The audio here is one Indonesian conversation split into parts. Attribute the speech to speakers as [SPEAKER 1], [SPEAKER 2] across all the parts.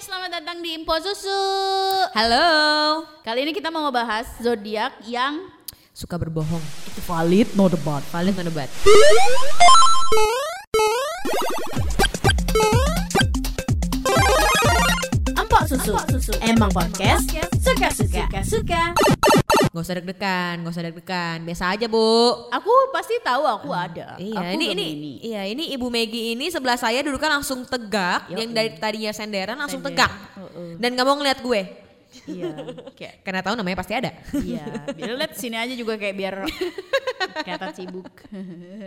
[SPEAKER 1] selamat datang di Info Susu.
[SPEAKER 2] Halo.
[SPEAKER 1] Kali ini kita mau ngebahas zodiak yang
[SPEAKER 2] Suka berbohong.
[SPEAKER 1] itu valid no debat.
[SPEAKER 2] Paling debat.
[SPEAKER 1] Empok Susu. Emang podcast suka-suka. Suka.
[SPEAKER 2] Gak usah deg-degan, gak usah deg-degan. Biasa aja, Bu.
[SPEAKER 1] Aku pasti tahu aku ada.
[SPEAKER 2] Iya,
[SPEAKER 1] aku
[SPEAKER 2] ini ini
[SPEAKER 1] Gemini.
[SPEAKER 2] iya, ini Ibu Megi ini sebelah saya duduknya langsung tegak,
[SPEAKER 1] Yoi.
[SPEAKER 2] yang dari tadinya senderan langsung
[SPEAKER 1] Senderan.
[SPEAKER 2] tegak.
[SPEAKER 1] Heeh.
[SPEAKER 2] Dan gak mau ngeliat gue.
[SPEAKER 1] Iya. Kayak
[SPEAKER 2] Karena tahu namanya pasti ada.
[SPEAKER 1] Iya, biar lihat sini aja juga kayak biar kelihatan sibuk.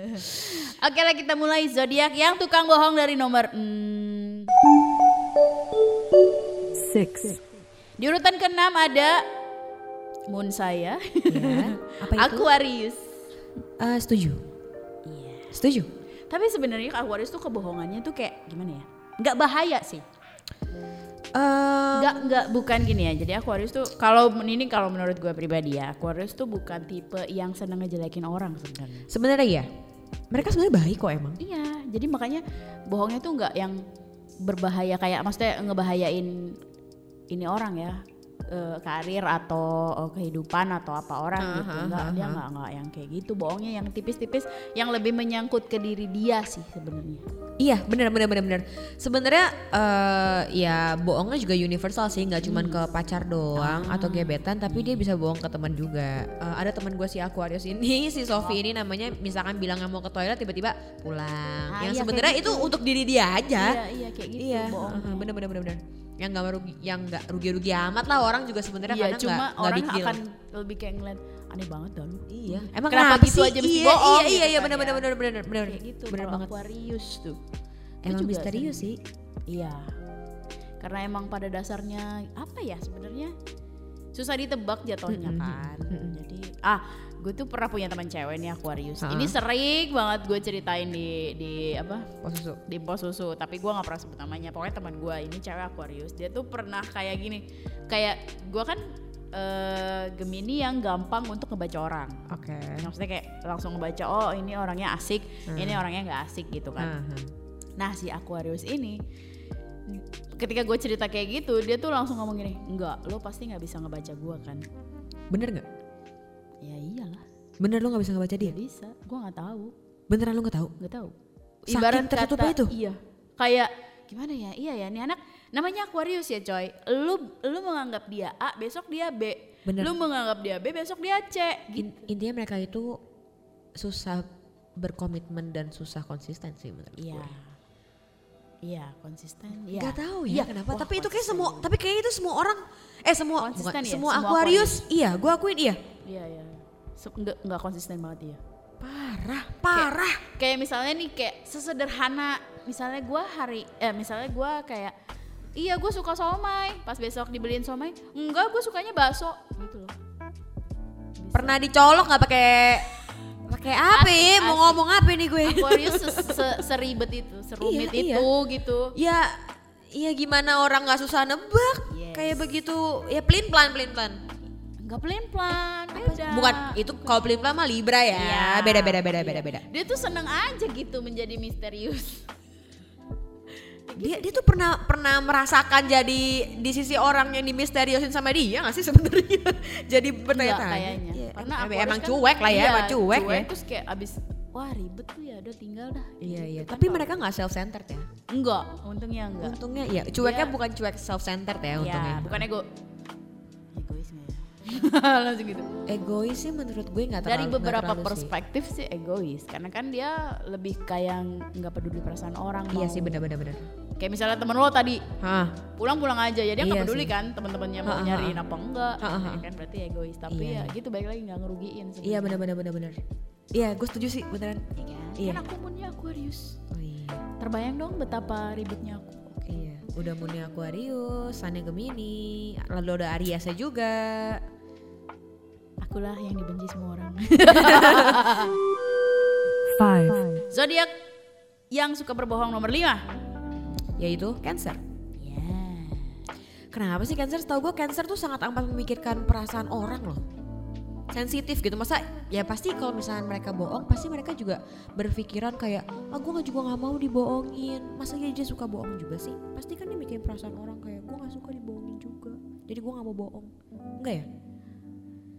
[SPEAKER 1] Oke lah kita mulai zodiak yang tukang bohong dari nomor hmm,
[SPEAKER 2] Six.
[SPEAKER 1] di urutan keenam ada Moon saya,
[SPEAKER 2] Ya. Apa itu?
[SPEAKER 1] Aquarius.
[SPEAKER 2] Eh, setuju.
[SPEAKER 1] Iya.
[SPEAKER 2] Setuju.
[SPEAKER 1] Tapi sebenarnya Aquarius tuh kebohongannya tuh kayak gimana ya? Nggak bahaya sih.
[SPEAKER 2] Eh,
[SPEAKER 1] Nggak nggak bukan gini ya. Jadi Aquarius tuh kalau ini kalau menurut gue pribadi ya, Aquarius tuh bukan tipe yang seneng ngejelekin orang sebenarnya.
[SPEAKER 2] sebenarnya ya. Mereka sebenarnya baik kok emang.
[SPEAKER 1] Iya, jadi makanya bohongnya tuh nggak yang berbahaya kayak maksudnya ngebahayain ini orang ya eh, karir atau eh, kehidupan atau apa orang gitu nggak dia nggak nggak yang kayak gitu bohongnya yang tipis-tipis yang lebih menyangkut ke diri dia sih sebenarnya
[SPEAKER 2] Iya, benar benar benar benar. Sebenarnya eh ya bohongnya juga universal sih, nggak cuman ke pacar doang
[SPEAKER 1] Ah.
[SPEAKER 2] atau gebetan, tapi dia bisa bohong ke teman juga. Eh, ada teman gue si Aquarius ini, si Sofi ini namanya misalkan bilang nggak mau ke toilet tiba-tiba pulang.
[SPEAKER 1] Ah,
[SPEAKER 2] yang
[SPEAKER 1] iya,
[SPEAKER 2] sebenarnya
[SPEAKER 1] kayak
[SPEAKER 2] itu untuk diri dia
[SPEAKER 1] iya
[SPEAKER 2] aja.
[SPEAKER 1] iya kayak gitu
[SPEAKER 2] Iya,
[SPEAKER 1] bohong
[SPEAKER 2] heeh, bener bener bener bener. Yang nggak merugi, yang nggak rugi-rugi amat lah orang juga sebenarnya
[SPEAKER 1] iya
[SPEAKER 2] kadang
[SPEAKER 1] cuma
[SPEAKER 2] nggak nggak
[SPEAKER 1] orang
[SPEAKER 2] big deal.
[SPEAKER 1] akan lebih kayak ngeliat aneh banget dah lu
[SPEAKER 2] Iya, emang
[SPEAKER 1] Kenapa
[SPEAKER 2] kenapa,
[SPEAKER 1] gitu
[SPEAKER 2] sih?
[SPEAKER 1] aja mesti
[SPEAKER 2] iya,
[SPEAKER 1] bohong
[SPEAKER 2] Iya, iya,
[SPEAKER 1] gitu
[SPEAKER 2] iya,
[SPEAKER 1] kan
[SPEAKER 2] bener
[SPEAKER 1] ya.
[SPEAKER 2] bener bener bener bener
[SPEAKER 1] kayak gitu
[SPEAKER 2] bener
[SPEAKER 1] kalau
[SPEAKER 2] banget.
[SPEAKER 1] Aquarius tuh Itu
[SPEAKER 2] Emang
[SPEAKER 1] juga
[SPEAKER 2] misterius sih.
[SPEAKER 1] Iya. Karena emang pada dasarnya apa ya sebenarnya susah ditebak jatuhnya
[SPEAKER 2] Mm-mm.
[SPEAKER 1] kan.
[SPEAKER 2] Mm-mm.
[SPEAKER 1] Jadi ah gue tuh pernah punya teman cewek nih Aquarius.
[SPEAKER 2] Ha-ha.
[SPEAKER 1] Ini sering banget gue ceritain di di apa
[SPEAKER 2] Posisi.
[SPEAKER 1] di pos susu tapi gue nggak pernah sebut namanya pokoknya teman gue ini cewek Aquarius dia tuh pernah kayak gini kayak gue kan eh, Gemini yang gampang untuk ngebaca orang
[SPEAKER 2] Oke.
[SPEAKER 1] maksudnya kayak langsung ngebaca oh ini orangnya asik ini orangnya nggak asik gitu kan
[SPEAKER 2] Aha.
[SPEAKER 1] Nah si Aquarius ini ketika gue cerita kayak gitu dia tuh langsung ngomong gini enggak lo pasti nggak bisa ngebaca gue kan
[SPEAKER 2] Bener nggak?
[SPEAKER 1] ya iyalah
[SPEAKER 2] Bener lu nggak bisa ngebaca dia?
[SPEAKER 1] nggak bisa gue nggak tahu
[SPEAKER 2] Beneran lu nggak tahu?
[SPEAKER 1] nggak tahu
[SPEAKER 2] Saking tertutupnya itu?
[SPEAKER 1] iya kayak gimana ya iya ya nih anak namanya Aquarius ya coy lu lu menganggap dia A besok dia B
[SPEAKER 2] Bener.
[SPEAKER 1] lu menganggap dia B besok dia C gitu.
[SPEAKER 2] In- intinya mereka itu susah berkomitmen dan susah konsisten sih menurut
[SPEAKER 1] iya
[SPEAKER 2] gue.
[SPEAKER 1] iya konsisten iya
[SPEAKER 2] Gak tahu ya
[SPEAKER 1] Iya.
[SPEAKER 2] kenapa.
[SPEAKER 1] Wah,
[SPEAKER 2] tapi itu kayak
[SPEAKER 1] konsisten.
[SPEAKER 2] semua, tapi kayaknya itu semua orang, eh semua, bukan,
[SPEAKER 1] Konsisten ya,
[SPEAKER 2] semua
[SPEAKER 1] semua
[SPEAKER 2] Aquarius, iya, gue akuin iya.
[SPEAKER 1] iya iya Se- nggak nggak konsisten banget iya
[SPEAKER 2] Parah, parah.
[SPEAKER 1] kayak misalnya nih kayak sesederhana misalnya gua hari eh misalnya gua kayak iya gue suka somai pas besok dibeliin somai enggak gue sukanya bakso gitu loh Bisa.
[SPEAKER 2] Pernah dicolok nggak pakai pakai apa? ya?
[SPEAKER 1] Asik,
[SPEAKER 2] Mau
[SPEAKER 1] asik.
[SPEAKER 2] ngomong apa nih gue?
[SPEAKER 1] Aquarius se- se- seribet itu serumit
[SPEAKER 2] Iya,
[SPEAKER 1] itu gitu
[SPEAKER 2] ya, ya gimana orang nggak susah nebak?
[SPEAKER 1] Yes.
[SPEAKER 2] Kayak begitu, ya pelin pelan pelin pelan.
[SPEAKER 1] nggak pelan pelan beda
[SPEAKER 2] Bukan itu kalau pelin pelan mah Libra ya. Beda beda beda
[SPEAKER 1] Iya.
[SPEAKER 2] beda beda.
[SPEAKER 1] dia tuh seneng aja gitu menjadi misterius
[SPEAKER 2] dia dia tuh pernah pernah merasakan jadi di sisi orang yang dimisteriusin sama dia nggak sih sebenarnya jadi
[SPEAKER 1] Enggak
[SPEAKER 2] bertanya-tanya
[SPEAKER 1] kayaknya
[SPEAKER 2] Iya,
[SPEAKER 1] karena
[SPEAKER 2] em-
[SPEAKER 1] Aquarius
[SPEAKER 2] emang
[SPEAKER 1] kan-
[SPEAKER 2] cuek lah ya
[SPEAKER 1] iya,
[SPEAKER 2] emang cuek, ya
[SPEAKER 1] terus kayak abis wah ribet tuh ya udah tinggal dah
[SPEAKER 2] iya
[SPEAKER 1] Gitu
[SPEAKER 2] iya
[SPEAKER 1] kan
[SPEAKER 2] tapi
[SPEAKER 1] kalau-
[SPEAKER 2] mereka nggak self centered ya
[SPEAKER 1] enggak untungnya enggak
[SPEAKER 2] untungnya iya cueknya
[SPEAKER 1] Iya.
[SPEAKER 2] bukan cuek self centered ya untungnya
[SPEAKER 1] Ya, bukan ego. Egois nggak ya? Langsung gitu.
[SPEAKER 2] egois sih menurut gue nggak
[SPEAKER 1] Dari
[SPEAKER 2] terlalu- nggak
[SPEAKER 1] beberapa
[SPEAKER 2] terlalu sih.
[SPEAKER 1] perspektif sih egois, karena kan dia lebih kayak nggak peduli perasaan orang.
[SPEAKER 2] iya
[SPEAKER 1] mau-
[SPEAKER 2] sih benar-benar benar
[SPEAKER 1] Kayak misalnya temen lo tadi
[SPEAKER 2] hah
[SPEAKER 1] pulang-pulang aja, ya dia nggak
[SPEAKER 2] Iya
[SPEAKER 1] peduli
[SPEAKER 2] sih.
[SPEAKER 1] kan teman-temannya mau
[SPEAKER 2] Ha, ha, ha.
[SPEAKER 1] nyariin apa enggak,
[SPEAKER 2] Ha, ha, ha.
[SPEAKER 1] ya kan berarti egois. Tapi
[SPEAKER 2] Iya.
[SPEAKER 1] ya gitu baik lagi nggak ngerugiin. sebenarnya.
[SPEAKER 2] iya benar-benar benar-benar iya gue setuju sih beneran
[SPEAKER 1] Ya kan?
[SPEAKER 2] Iya.
[SPEAKER 1] Kan aku moonnya Aquarius.
[SPEAKER 2] oh iya
[SPEAKER 1] Terbayang dong betapa ribetnya aku.
[SPEAKER 2] iya udah murni Aquarius Sunnya Gemini lalu ada Ariasnya juga
[SPEAKER 1] Akulah yang dibenci semua orang. Zodiak yang suka berbohong nomor 5
[SPEAKER 2] yaitu Cancer
[SPEAKER 1] Ya.
[SPEAKER 2] Iya. Kenapa sih Cancer? Setahu gue Cancer tuh sangat amat memikirkan perasaan orang loh. sensitif gitu masa ya pasti kalau misalnya mereka bohong pasti mereka juga berpikiran kayak ah gue juga nggak mau dibohongin masa dia, dia suka bohong juga sih pasti kan dia mikirin perasaan orang kayak gue nggak suka dibohongin juga jadi gue nggak mau bohong enggak ya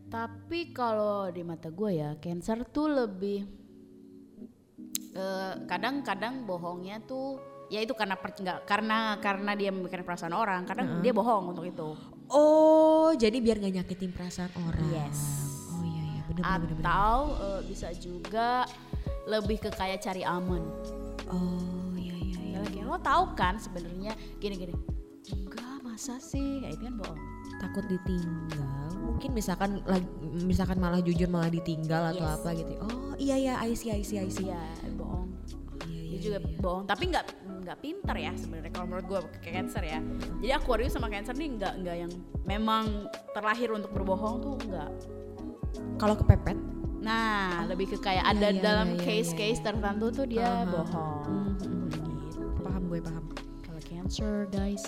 [SPEAKER 1] Tapi kalau di mata gue ya, cancer tuh lebih eh, kadang-kadang bohongnya tuh ya itu karena per, nggak- karena karena dia memikirkan perasaan orang, kadang dia bohong untuk itu.
[SPEAKER 2] oh jadi biar nggak nyakitin perasaan orang
[SPEAKER 1] Yes.
[SPEAKER 2] oh iya iya Ah. bener bener bener, bener.
[SPEAKER 1] Atau eh, bisa juga lebih ke kayak cari aman.
[SPEAKER 2] oh iya iya iya
[SPEAKER 1] Ya, lagi, lo tahu kan sebenarnya gini-gini. Enggak, masa sih? Ya itu kan bohong.
[SPEAKER 2] takut ditinggal mungkin misalkan lagi- misalkan malah jujur malah ditinggal atau
[SPEAKER 1] Yes.
[SPEAKER 2] apa gitu oh iya iya I see I see I see
[SPEAKER 1] Iya, bohong.
[SPEAKER 2] Iya,
[SPEAKER 1] Dia
[SPEAKER 2] iya,
[SPEAKER 1] juga
[SPEAKER 2] iya.
[SPEAKER 1] bohong, tapi nggak nggak pinter ya sebenarnya kalau menurut gue kayak cancer ya. Jadi Aquarius sama cancer nih nggak nggak yang memang terlahir untuk berbohong tuh nggak.
[SPEAKER 2] kalau kepepet
[SPEAKER 1] Nah, lebih ke kayak ada
[SPEAKER 2] Oh. iya,
[SPEAKER 1] dalam
[SPEAKER 2] iya, iya,
[SPEAKER 1] case-case
[SPEAKER 2] iya.
[SPEAKER 1] tertentu tuh dia
[SPEAKER 2] Aha.
[SPEAKER 1] bohong.
[SPEAKER 2] Hmm, hmm,
[SPEAKER 1] Gitu.
[SPEAKER 2] paham gue paham
[SPEAKER 1] Kalau cancer guys,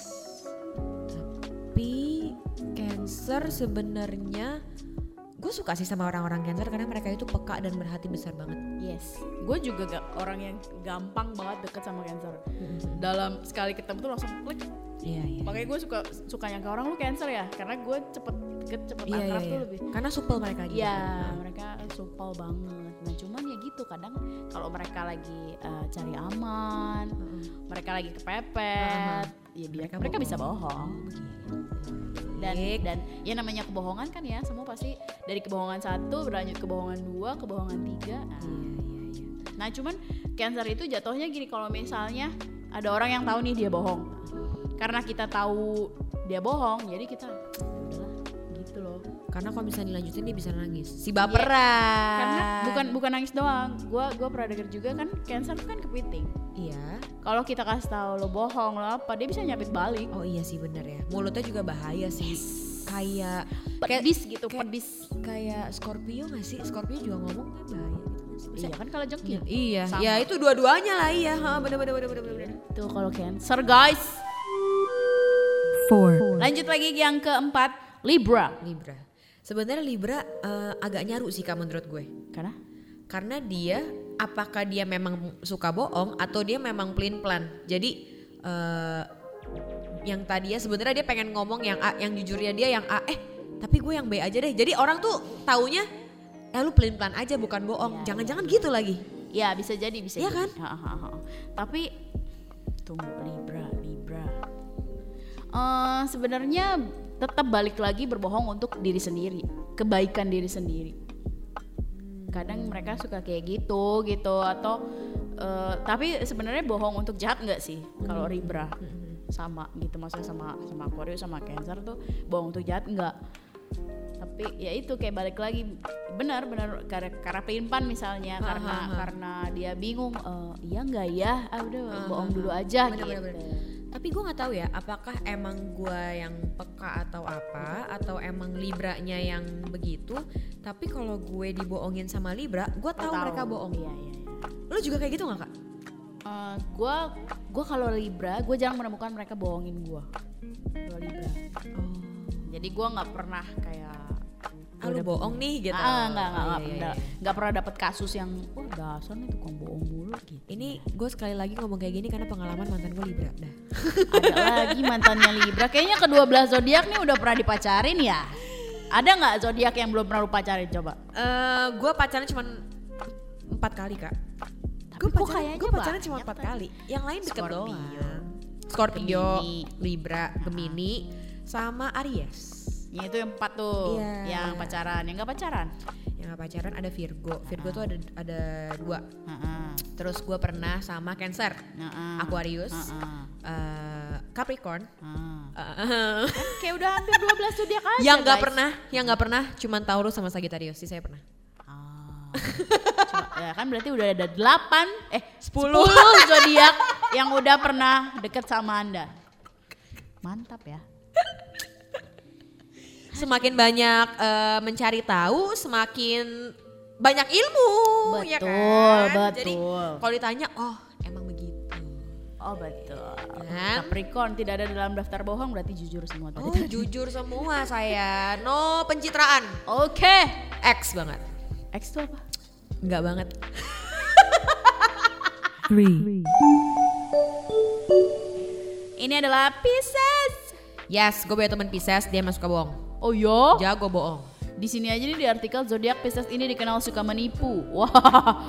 [SPEAKER 2] tapi cancer sebenarnya gue suka sih sama orang-orang cancer karena mereka itu peka dan berhati besar banget
[SPEAKER 1] yes. Gue juga ga- orang yang gampang banget deket sama cancer.
[SPEAKER 2] Hmm.
[SPEAKER 1] Dalam sekali ketemu tuh langsung klik.
[SPEAKER 2] iya iya
[SPEAKER 1] Makanya gue suka suka yang ke orang lu cancer ya, karena gue cepet deket cepet
[SPEAKER 2] iya iya,
[SPEAKER 1] akrab
[SPEAKER 2] iya.
[SPEAKER 1] tuh lebih.
[SPEAKER 2] karena supel mereka gitu
[SPEAKER 1] Iya,
[SPEAKER 2] kan.
[SPEAKER 1] mereka supel banget. Nah, cuman ya gitu kadang kalau mereka lagi eh, cari aman, mereka lagi kepepet, ya dia- mereka, bisa bohong. Dan
[SPEAKER 2] Baik.
[SPEAKER 1] dan ya namanya kebohongan kan ya, semua pasti dari kebohongan satu berlanjut kebohongan dua, kebohongan tiga. Nah, Nah, cuman cancer itu jatuhnya gini kalau misalnya ada orang yang tahu nih dia bohong. Karena kita tahu dia bohong, jadi kita "Ya udahlah, gitu loh.
[SPEAKER 2] karena kalau misalnya dilanjutin dia bisa nangis si
[SPEAKER 1] Iya.
[SPEAKER 2] baperan
[SPEAKER 1] karena bukan bukan nangis doang gua gua pernah denger juga kan cancer tuh kan kepiting
[SPEAKER 2] iya
[SPEAKER 1] kalau kita kasih tahu lo bohong lo apa dia bisa nyapit balik
[SPEAKER 2] oh iya sih bener ya mulutnya juga bahaya sih kayak kayak
[SPEAKER 1] pedis gitu
[SPEAKER 2] kayak-
[SPEAKER 1] pedis
[SPEAKER 2] kayak Scorpio gak sih Scorpio juga ngomong kan bahaya gitu nggak sih?
[SPEAKER 1] iya kan kalau jengking
[SPEAKER 2] Iya, iya,
[SPEAKER 1] Sama.
[SPEAKER 2] ya itu dua-duanya lah iya, ha, bener bener bener bener
[SPEAKER 1] tuh
[SPEAKER 2] bener.
[SPEAKER 1] Gitu kalau cancer guys
[SPEAKER 2] Four.
[SPEAKER 1] lanjut lagi yang keempat libra
[SPEAKER 2] Libra. Sebenarnya Libra eh, agak nyaru sih kak menurut gue,
[SPEAKER 1] karena
[SPEAKER 2] karena dia apakah dia memang suka bohong atau dia memang plain plan. Jadi eh, yang tadi ya sebenarnya dia pengen ngomong yang A, yang jujurnya dia yang A, eh tapi gue yang B aja deh. Jadi orang tuh taunya, eh lu plain plan aja bukan bohong.
[SPEAKER 1] Iya,
[SPEAKER 2] Jangan-jangan gitu lagi.
[SPEAKER 1] ya bisa jadi bisa
[SPEAKER 2] Iya
[SPEAKER 1] jadi.
[SPEAKER 2] kan?
[SPEAKER 1] Ha, ha, ha. tapi tunggu libra libra Eh, sebenarnya tetap balik lagi berbohong untuk diri sendiri kebaikan diri sendiri kadang mereka suka kayak gitu gitu atau eh, tapi sebenarnya bohong untuk jahat nggak sih kalau Libra sama gitu maksudnya sama sama Aquarius sama Cancer tuh bohong untuk jahat nggak tapi ya itu kayak balik lagi benar benar karena karena pelimpan misalnya
[SPEAKER 2] Ah,
[SPEAKER 1] karena
[SPEAKER 2] ah, ah.
[SPEAKER 1] karena dia bingung eh, iya nggak ya ah udah bohong dulu aja
[SPEAKER 2] Bener,
[SPEAKER 1] gitu
[SPEAKER 2] bener, bener. Tapi gue nggak tahu ya, apakah emang gue yang peka atau apa, atau emang libranya yang begitu. Tapi kalau gue dibohongin sama libra, gue tahu
[SPEAKER 1] Tahu.
[SPEAKER 2] mereka bohong.
[SPEAKER 1] iya iya iya.
[SPEAKER 2] Lo juga kayak gitu nggak kak?
[SPEAKER 1] Eh, gua gua kalau Libra gue jarang menemukan mereka bohongin gua kalau Libra jadi gua nggak pernah kayak
[SPEAKER 2] Ah, lu bohong nih gitu.
[SPEAKER 1] ah nggak nggak
[SPEAKER 2] Iya,
[SPEAKER 1] nggak
[SPEAKER 2] iya,
[SPEAKER 1] nggak-
[SPEAKER 2] iya.
[SPEAKER 1] nggak pernah dapet kasus yang wah dasar nih tukang bohong mulu gitu
[SPEAKER 2] Ini gue sekali lagi ngomong kayak gini karena pengalaman mantan gue libra. Dah.
[SPEAKER 1] ada lagi mantannya Libra kayaknya kedua belah zodiak nih udah pernah dipacarin ya ada nggak zodiak yang belum pernah lu pacarin coba
[SPEAKER 2] Eh, gue pacaran cuma empat kali kak.
[SPEAKER 1] Tapi
[SPEAKER 2] Gue
[SPEAKER 1] kok
[SPEAKER 2] pacaran,
[SPEAKER 1] kayaknya
[SPEAKER 2] gua pacaran
[SPEAKER 1] banyak
[SPEAKER 2] cuma empat kali. Yang lain deket
[SPEAKER 1] Scorpio.
[SPEAKER 2] doang. Scorpio,
[SPEAKER 1] Gemini.
[SPEAKER 2] Libra, Gemini, sama Aries.
[SPEAKER 1] ya, itu yang empat tuh
[SPEAKER 2] Iya.
[SPEAKER 1] yang pacaran yang nggak pacaran
[SPEAKER 2] yang gak pacaran ada Virgo. Virgo tuh ada ada dua.
[SPEAKER 1] Heeh.
[SPEAKER 2] Terus gue pernah sama Cancer,
[SPEAKER 1] Heeh.
[SPEAKER 2] Aquarius,
[SPEAKER 1] Heeh.
[SPEAKER 2] eh, Capricorn.
[SPEAKER 1] Heeh. Ya
[SPEAKER 2] eh,
[SPEAKER 1] Kan kayak udah hampir 12 zodiak aja
[SPEAKER 2] yang gak
[SPEAKER 1] guys.
[SPEAKER 2] pernah, yang gak pernah, cuman Taurus sama Sagittarius sih saya pernah.
[SPEAKER 1] Ah. Cuma- ya kan berarti udah ada 8 eh 10,
[SPEAKER 2] Sepuluh.
[SPEAKER 1] zodiak yang udah pernah deket sama Anda. Mantap ya.
[SPEAKER 2] Semakin banyak eh, mencari tahu, semakin banyak ilmu, ya
[SPEAKER 1] Betul,
[SPEAKER 2] kan? Jadi
[SPEAKER 1] betul.
[SPEAKER 2] kalau ditanya, oh emang begitu.
[SPEAKER 1] Oh betul.
[SPEAKER 2] Kan?
[SPEAKER 1] Capricorn tidak ada dalam daftar bohong berarti jujur semua
[SPEAKER 2] Oh
[SPEAKER 1] tadi.
[SPEAKER 2] jujur semua saya, no pencitraan.
[SPEAKER 1] Oke,
[SPEAKER 2] X banget.
[SPEAKER 1] X itu apa?
[SPEAKER 2] Enggak banget.
[SPEAKER 1] Ini adalah Pisces.
[SPEAKER 2] Yes, gue punya teman Pisces, dia emang suka bohong.
[SPEAKER 1] Oh yo,
[SPEAKER 2] Jago bohong.
[SPEAKER 1] di sini aja nih di artikel zodiak Pisces ini dikenal suka menipu. Wah,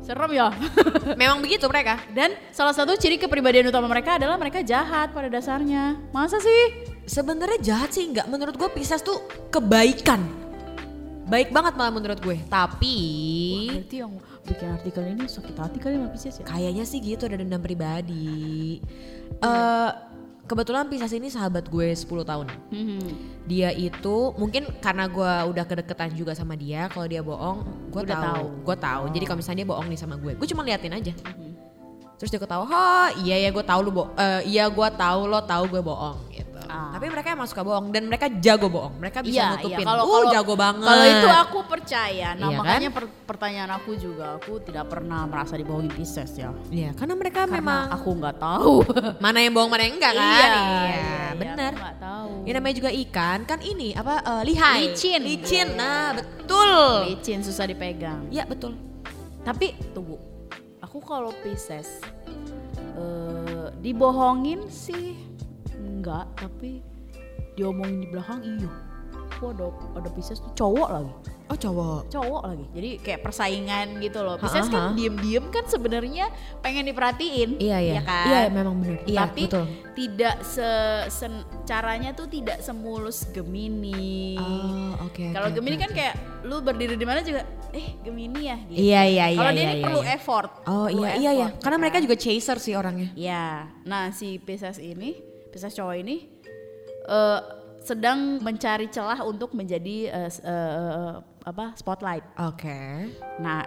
[SPEAKER 1] serem ya.
[SPEAKER 2] Memang begitu mereka.
[SPEAKER 1] Dan salah satu ciri kepribadian utama mereka adalah mereka jahat pada dasarnya. Masa sih?
[SPEAKER 2] Sebenarnya jahat sih enggak. Menurut gue Pisces tuh kebaikan. Baik banget malah menurut gue. Tapi
[SPEAKER 1] Berarti yang bikin artikel ini sakit hati kali sama Pisces ya?
[SPEAKER 2] kayaknya sih gitu ada dendam pribadi.
[SPEAKER 1] Iya.
[SPEAKER 2] Eh kebetulan Pisces ini sahabat gue 10 tahun.
[SPEAKER 1] Hmm.
[SPEAKER 2] dia itu mungkin karena gue udah kedeketan juga sama dia kalau dia bohong gue
[SPEAKER 1] Udah tahu.
[SPEAKER 2] tahu gue tahu jadi kalau misalnya dia bohong nih sama gue gue cuma liatin aja
[SPEAKER 1] Mm-hmm.
[SPEAKER 2] terus dia ketawa ha iya ya gue tahu lu bo eh, iya gue tahu lo tahu gue bohong gitu
[SPEAKER 1] Ah.
[SPEAKER 2] tapi mereka emang suka bohong dan mereka jago bohong mereka bisa
[SPEAKER 1] Iya,
[SPEAKER 2] nutupin
[SPEAKER 1] iya. Kalau
[SPEAKER 2] uh
[SPEAKER 1] kalau-
[SPEAKER 2] jago banget
[SPEAKER 1] Kalau itu aku percaya. Nah,
[SPEAKER 2] Iya kan?
[SPEAKER 1] makanya per- pertanyaan aku juga aku tidak pernah merasa dibohongin Pisces ya.
[SPEAKER 2] Iya, karena mereka memang
[SPEAKER 1] Karena aku nggak tahu.
[SPEAKER 2] mana yang bohong mana
[SPEAKER 1] Iya
[SPEAKER 2] yang enggak kan benar
[SPEAKER 1] benar. Enggak tahu.
[SPEAKER 2] Ya namanya juga ikan, kan ini apa eh, lihai.
[SPEAKER 1] Licin.
[SPEAKER 2] Licin. Nah, betul.
[SPEAKER 1] Licin susah dipegang.
[SPEAKER 2] Iya, betul.
[SPEAKER 1] Tapi tunggu. Aku kalau Pisces eh, dibohongin sih enggak, tapi diomongin di belakang iya. Aku ada ada Pisces tuh cowok lagi.
[SPEAKER 2] Oh, cowok.
[SPEAKER 1] cowok lagi jadi kayak persaingan gitu loh
[SPEAKER 2] Ha,
[SPEAKER 1] Pisces
[SPEAKER 2] ha.
[SPEAKER 1] kan diem-diem kan sebenarnya pengen diperhatiin
[SPEAKER 2] Iya iya.
[SPEAKER 1] ya kan
[SPEAKER 2] Iya memang benar. Iya
[SPEAKER 1] tapi
[SPEAKER 2] betul.
[SPEAKER 1] tidak se, sen- caranya tuh tidak semulus Gemini
[SPEAKER 2] Iya. Oh, oke.
[SPEAKER 1] kalau Gemini kan kayak lu berdiri di mana juga eh Gemini ya gitu.
[SPEAKER 2] Iya iya iya.
[SPEAKER 1] kalau
[SPEAKER 2] iya,
[SPEAKER 1] dia ini
[SPEAKER 2] iya,
[SPEAKER 1] perlu
[SPEAKER 2] iya.
[SPEAKER 1] effort
[SPEAKER 2] Oh
[SPEAKER 1] perlu
[SPEAKER 2] iya iya iya.
[SPEAKER 1] effort,
[SPEAKER 2] Karena
[SPEAKER 1] ya
[SPEAKER 2] mereka
[SPEAKER 1] kan?
[SPEAKER 2] juga chaser sih orangnya.
[SPEAKER 1] ya nah si Pisces ini Pisces cowok ini eh, sedang mencari celah untuk menjadi eh, s- eh, eh, apa spotlight
[SPEAKER 2] Oke.
[SPEAKER 1] Nah,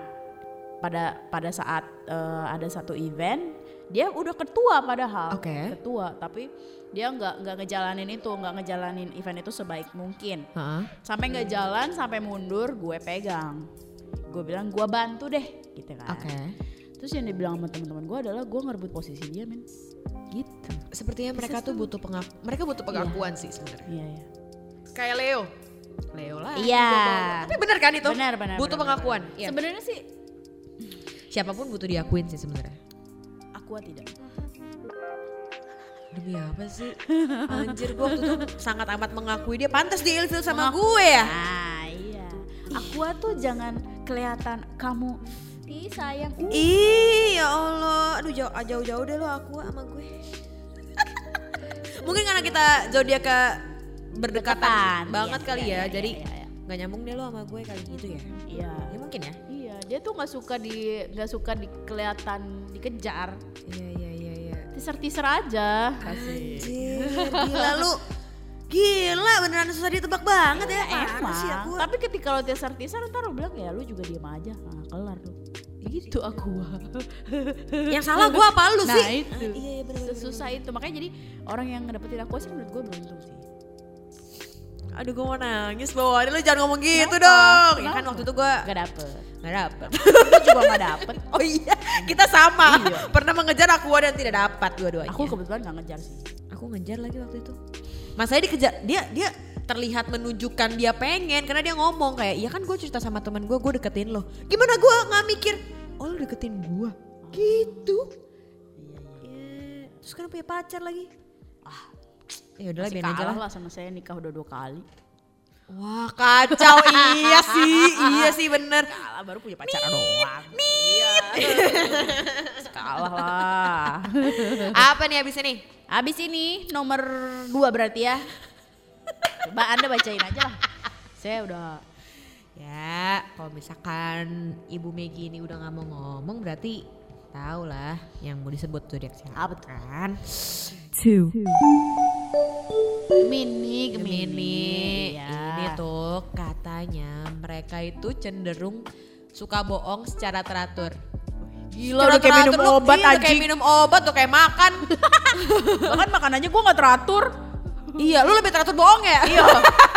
[SPEAKER 1] pada pada saat eh, ada satu event, dia udah ketua padahal.
[SPEAKER 2] Oke.
[SPEAKER 1] Ketua, tapi dia nggak nggak ngejalanin itu, nggak ngejalanin event itu sebaik mungkin.
[SPEAKER 2] Heeh.
[SPEAKER 1] Sampai nggak
[SPEAKER 2] Hmm.
[SPEAKER 1] jalan, sampai mundur, gue pegang. Gue bilang gue bantu deh, gitu kan.
[SPEAKER 2] Oke.
[SPEAKER 1] Terus yang dibilang sama teman-teman gue adalah gue ngerebut posisi dia, men. Gitu.
[SPEAKER 2] Sepertinya mereka tuh butuh pengak mereka butuh pengakuan sih sebenarnya.
[SPEAKER 1] Iya, iya.
[SPEAKER 2] Kayak Leo. Leo lah.
[SPEAKER 1] Iya.
[SPEAKER 2] Tapi benar kan itu?
[SPEAKER 1] Benar, benar,
[SPEAKER 2] Butuh
[SPEAKER 1] benar,
[SPEAKER 2] pengakuan. Iya.
[SPEAKER 1] Sebenarnya sih
[SPEAKER 2] Siapapun butuh diakuin sih sebenarnya.
[SPEAKER 1] aku tidak.
[SPEAKER 2] Demi apa sih? Anjir gue waktu itu sangat amat mengakui dia pantas diilfil sama gue ya.
[SPEAKER 1] Ah, iya. Aqua tuh jangan kelihatan kamu Ih sayang. Uh,
[SPEAKER 2] Ih, ya Allah. Aduh, jauh jauh-jauh deh lo aku sama gue. Mungkin karena kita zodiak ke
[SPEAKER 1] Dekatan.
[SPEAKER 2] berdekatan banget
[SPEAKER 1] Iya,
[SPEAKER 2] kali
[SPEAKER 1] iya,
[SPEAKER 2] ya.
[SPEAKER 1] iya,
[SPEAKER 2] jadi
[SPEAKER 1] iya, iya.
[SPEAKER 2] nggak nyambung deh lo sama gue kali gitu ya.
[SPEAKER 1] Iya.
[SPEAKER 2] Ya mungkin ya.
[SPEAKER 1] Iya, dia tuh nggak suka di nggak suka di kelihatan dikejar.
[SPEAKER 2] Iya, iya, iya, iya.
[SPEAKER 1] Teaser-teaser aja.
[SPEAKER 2] Anjir, gila lu. Gila, beneran susah ditebak banget ya. Parah
[SPEAKER 1] Emang.
[SPEAKER 2] sih aku.
[SPEAKER 1] Tapi ketika lo teaser-teaser ntar lo bilang ya lu juga diem aja. Nah, kelar lu. Gitu aku.
[SPEAKER 2] Yang salah gue apa lu
[SPEAKER 1] nah,
[SPEAKER 2] sih?
[SPEAKER 1] itu.
[SPEAKER 2] Ah, iya, iya, bener, bener,
[SPEAKER 1] Sesusah itu. Makanya jadi orang yang ngedapetin aku sih menurut gue beruntung sih.
[SPEAKER 2] Aduh, gue mau nangis bawaannya lu jangan ngomong gitu
[SPEAKER 1] Kenapa?
[SPEAKER 2] dong. Ya
[SPEAKER 1] Kenapa?
[SPEAKER 2] kan waktu itu gue
[SPEAKER 1] Gak dapet.
[SPEAKER 2] nggak dapet.
[SPEAKER 1] Gue juga gak dapet.
[SPEAKER 2] Oh iya, kita sama.
[SPEAKER 1] Iya.
[SPEAKER 2] Pernah mengejar aku dan tidak dapat dua-duanya.
[SPEAKER 1] Aku kebetulan gak ngejar sih.
[SPEAKER 2] aku ngejar lagi waktu itu. Mas saya dikejar, dia dia terlihat menunjukkan dia pengen karena dia ngomong kayak, "Iya kan gue cerita sama teman gue, gue deketin lo." Gimana gue nggak mikir, "Oh, lo deketin gue." Gitu. Ya, Terus kan punya pacar lagi. Ah. Ya udahlah
[SPEAKER 1] Masih
[SPEAKER 2] biarin aja
[SPEAKER 1] kalah
[SPEAKER 2] lah.
[SPEAKER 1] lah sama saya nikah udah dua kali.
[SPEAKER 2] Wah, kacau. iya sih, iya sih bener.
[SPEAKER 1] Kalah baru punya pacar doang. Iya. kalah lah.
[SPEAKER 2] Apa nih abis ini?
[SPEAKER 1] Abis ini nomor dua berarti ya. Coba anda bacain aja lah. Saya udah
[SPEAKER 2] Ya, kalau misalkan Ibu Megi ini udah nggak mau ngomong berarti tau lah yang mau disebut zodiak siapa.
[SPEAKER 1] Apa tuh?
[SPEAKER 2] kan?
[SPEAKER 1] mini gemini.
[SPEAKER 2] Gemini.
[SPEAKER 1] Iya.
[SPEAKER 2] Ini tuh katanya mereka itu cenderung suka bohong secara teratur.
[SPEAKER 1] Gila udah kayak minum
[SPEAKER 2] lu-
[SPEAKER 1] obat
[SPEAKER 2] iya, udah
[SPEAKER 1] anjing.
[SPEAKER 2] kayak minum obat, tuh kayak makan.
[SPEAKER 1] Bahkan makanannya gue gak teratur.
[SPEAKER 2] iya, lu lebih teratur bohong ya?
[SPEAKER 1] iya.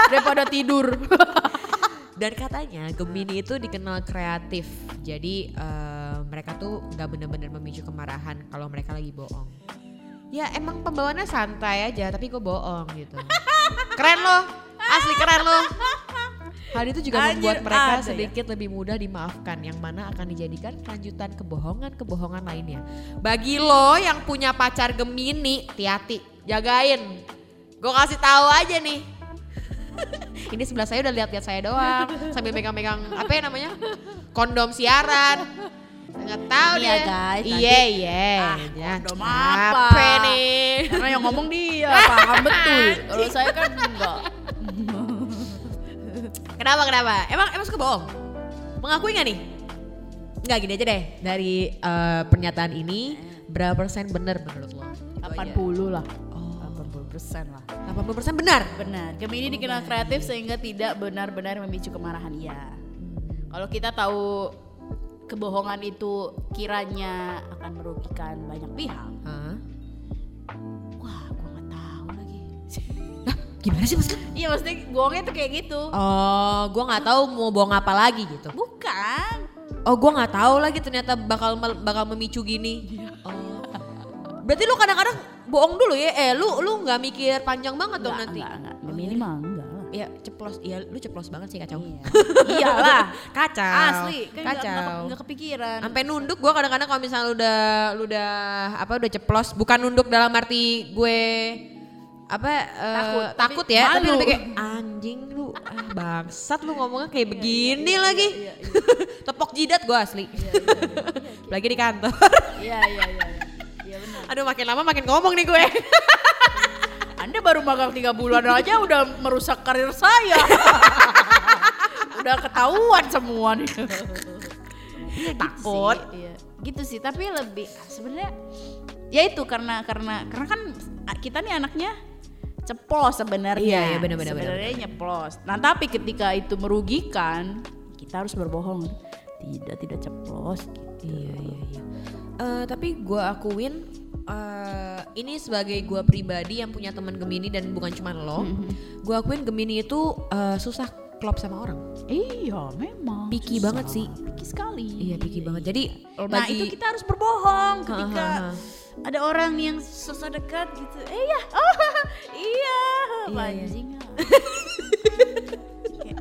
[SPEAKER 1] Daripada tidur.
[SPEAKER 2] Dan katanya Gemini itu dikenal kreatif. Jadi eh, mereka tuh nggak bener-bener memicu kemarahan kalau mereka lagi bohong. Ya emang pembawaannya santai aja, tapi gue bohong gitu. Keren loh, asli keren loh. Hal itu juga
[SPEAKER 3] Anjir,
[SPEAKER 2] membuat mereka
[SPEAKER 3] ada ya.
[SPEAKER 2] sedikit lebih mudah dimaafkan yang mana akan dijadikan kelanjutan kebohongan-kebohongan lainnya. Bagi lo yang punya pacar Gemini, hati-hati, jagain. Gue kasih tahu aja nih. Ini sebelah saya udah lihat-lihat saya doang sambil megang-megang apa ya namanya? kondom siaran. Nggak tahu
[SPEAKER 1] Iya,
[SPEAKER 2] deh.
[SPEAKER 1] guys, nanti-
[SPEAKER 2] Iya, iya.
[SPEAKER 1] Ah,
[SPEAKER 2] Ya,
[SPEAKER 1] kondom
[SPEAKER 2] Capek
[SPEAKER 1] apa?
[SPEAKER 2] nih.
[SPEAKER 1] Karena yang ngomong dia paham betul. Kalau saya kan enggak.
[SPEAKER 2] Kenapa kenapa? Emang emang suka bohong? Mengakui nggak nih? Nggak gini aja deh. Dari eh, pernyataan ini berapa persen benar menurut lo? Gitu
[SPEAKER 1] 80 lah.
[SPEAKER 2] Oh.
[SPEAKER 1] 80 persen lah.
[SPEAKER 2] 80 persen benar.
[SPEAKER 1] Benar. Gemini dikenal kreatif sehingga tidak benar-benar memicu kemarahan. Ya. Kalau kita tahu kebohongan itu kiranya akan merugikan banyak pihak.
[SPEAKER 2] Hah?
[SPEAKER 1] Wah, gua nggak tahu lagi.
[SPEAKER 2] Gimana sih maksudnya?
[SPEAKER 1] Iya, maksudnya bohongnya tuh kayak gitu.
[SPEAKER 2] Oh, gue nggak tahu mau bohong apa lagi gitu.
[SPEAKER 1] Bukan.
[SPEAKER 2] Oh, gue nggak tahu lagi ternyata bakal mel- bakal memicu gini.
[SPEAKER 1] Iya.
[SPEAKER 2] Oh. Berarti lu kadang-kadang bohong dulu ya? Eh, lu lu nggak mikir panjang banget dong nanti?
[SPEAKER 1] Enggak, enggak. Gemini mah enggak lah.
[SPEAKER 2] Ya ceplos, ya lu ceplos banget sih kacau.
[SPEAKER 1] Iya. Iyalah.
[SPEAKER 2] Kacau.
[SPEAKER 1] Asli, kan nggak-
[SPEAKER 2] kacau.
[SPEAKER 1] nggak nggak kepikiran.
[SPEAKER 2] sampai nunduk gue kadang-kadang kalau misalnya udah lu udah apa udah ceplos bukan nunduk dalam arti gue apa eh,
[SPEAKER 1] Takut, tapi
[SPEAKER 2] takut ya tapi
[SPEAKER 1] malu.
[SPEAKER 2] lebih kayak anjing lu ah, bangsat lu ngomongnya
[SPEAKER 1] Iya,
[SPEAKER 2] kayak begini lagi tepok jidat gue asli lagi di kantor
[SPEAKER 1] Iya, iya, iya. iya. Iya benar.
[SPEAKER 2] aduh makin lama makin ngomong nih gue
[SPEAKER 1] Anda baru magang tiga bulan aja udah merusak karir saya. udah ketahuan semua nih.
[SPEAKER 2] Takut.
[SPEAKER 1] Gitu sih, iya. Gitu sih, tapi lebih sebenarnya ya itu karena karena karena kan kita nih anaknya ceplos sebenarnya.
[SPEAKER 2] Iya, iya, benar, benar, benar,
[SPEAKER 1] Sebenarnya nyeplos. Nah, tapi ketika itu merugikan, kita harus berbohong. Tidak, tidak ceplos gitu.
[SPEAKER 2] Iya iya iya. Eh, tapi gue akuin eh, ini sebagai gue pribadi yang punya teman Gemini dan bukan cuma lo, gue akuin Gemini itu eh, susah klop sama orang.
[SPEAKER 1] Iya, memang.
[SPEAKER 2] Picky
[SPEAKER 1] Susah.
[SPEAKER 2] banget sih.
[SPEAKER 1] Picky sekali.
[SPEAKER 2] Iya picky banget. Jadi
[SPEAKER 1] Nah
[SPEAKER 2] bagi-
[SPEAKER 1] itu kita harus berbohong ketika
[SPEAKER 2] Ha, ha, ha.
[SPEAKER 1] ada orang yang sosok dekat gitu. Eh ya, oh iya,
[SPEAKER 2] Iya,
[SPEAKER 1] anjing. ah. Kayak,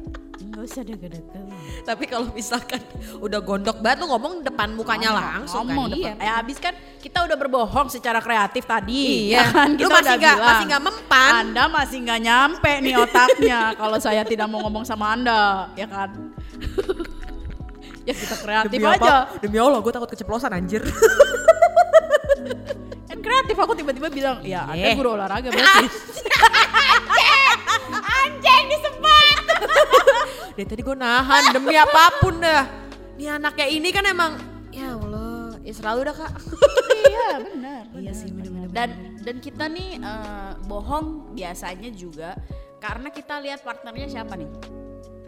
[SPEAKER 1] Nggak usah deket-deket.
[SPEAKER 2] tapi kalau misalkan udah gondok banget lo ngomong depan mukanya langsung
[SPEAKER 1] Ngomong
[SPEAKER 2] kan iya.
[SPEAKER 1] depan- Eh abis kan kita udah berbohong secara kreatif tadi. ya
[SPEAKER 2] Iya.
[SPEAKER 1] kan?
[SPEAKER 2] Lu
[SPEAKER 1] Kita
[SPEAKER 2] masih
[SPEAKER 1] udah
[SPEAKER 2] nggak-
[SPEAKER 1] bilang,
[SPEAKER 2] masih nggak mempan.
[SPEAKER 1] Anda masih nggak nyampe nih otaknya kalau saya tidak mau ngomong sama Anda, ya kan? ya kita kreatif aja.
[SPEAKER 2] Demi Allah gue takut keceplosan anjir.
[SPEAKER 1] Kan kreatif aku tiba-tiba bilang, ya ada
[SPEAKER 2] Eh.
[SPEAKER 1] guru olahraga berarti. Anjing disempat.
[SPEAKER 2] Dari tadi gue nahan demi apapun dah. Ini anaknya ini kan emang ya Allah ya selalu dah kak.
[SPEAKER 1] iya benar. Iya sih benar. Dan dan kita nih eh, bohong biasanya juga karena kita lihat partnernya siapa nih.